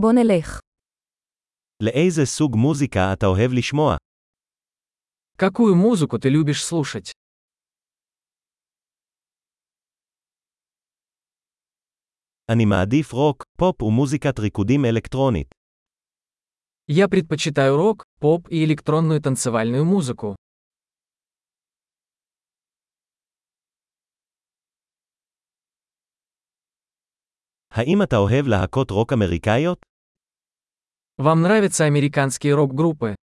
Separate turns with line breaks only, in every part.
בוא נלך.
לאיזה סוג מוזיקה אתה אוהב לשמוע?
Какую музыку ты любишь слушать?
אני מעדיף רוק, פופ ומוזיקת ריקודים אלקטרונית.
Я предпочитаю рок, поп и электронную танцевальную музыку.
האם אתה אוהב להקות רוק אמריקאיות?
Вам нравятся американские рок-группы?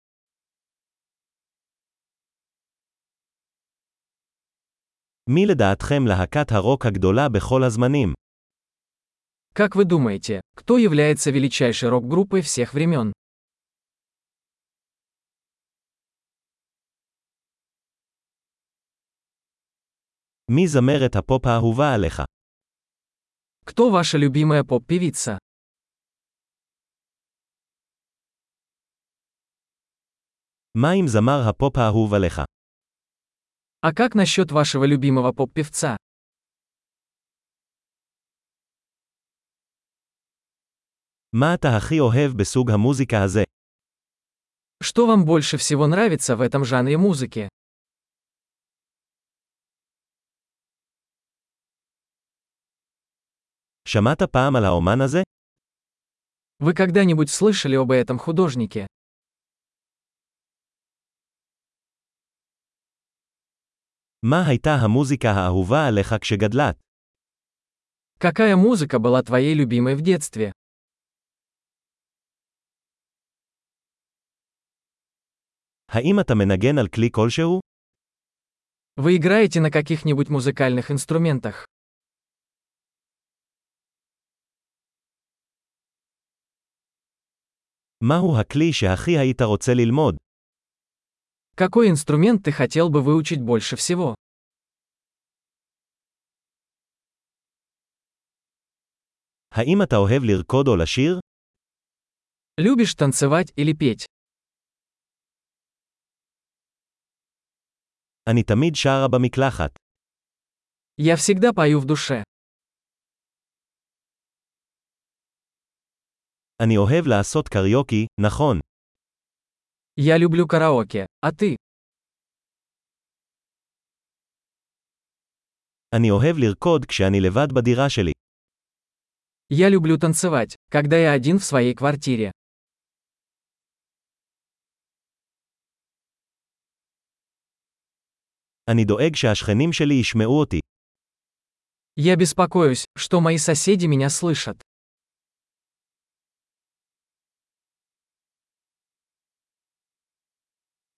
מי לדעתכם להקת הרוק הגדולה בכל הזמנים?
Как вы думаете, кто является величайшей рок-группой всех времен?
מי זמרת הפופ האהובה עליך?
Кто ваша любимая поп-певица?
מה עם זמר הפופ האהוב עליך?
А как насчет вашего любимого поп-певца?
מה אתה הכי אוהב בסוג המוזיקה הזה?
Что вам больше всего нравится в этом жанре музыки?
שמעת פעם על האומן הזה?
Вы когда-нибудь слышали об этом художнике?
מה הייתה המוזיקה האהובה עליך כשגדלת?
Какая музыка была твоей любимой в детстве?
האם אתה מנגן על כלי כלשהו?
Вы играете на каких-нибудь музыкальных инструментах?
מהו הכלי שהכי היית רוצה ללמוד?
Какой инструмент ты хотел бы выучить больше всего?
האם אתה אוהב לרקוד או לשיר?
Любишь танцевать или петь?
אני תמיד שרה במקלחת.
Я всегда пою в душе.
אני אוהב לעשות קריוקי, נכון.
Я люблю караоке, а ты?
אני אוהב לרקוד כשאני לבד בדירה שלי.
Я люблю танцевать, когда я один в своей квартире.
אני דואג שהשכנים שלי ישמעו אותי.
Я беспокоюсь, что мои соседи меня слышат.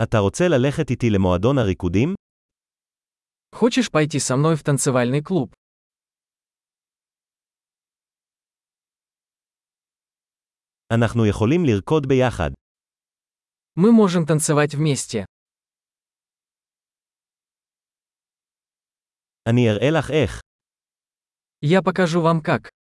אתה רוצה ללכת איתי למועדון הריקודים?
Хочешь пойти со мной в танцевальный клуб?
אנחנו יכולים לרקוד ביחד.
Мы можем танцевать вместе.
אני אראה לך איך.
Я покажу вам как.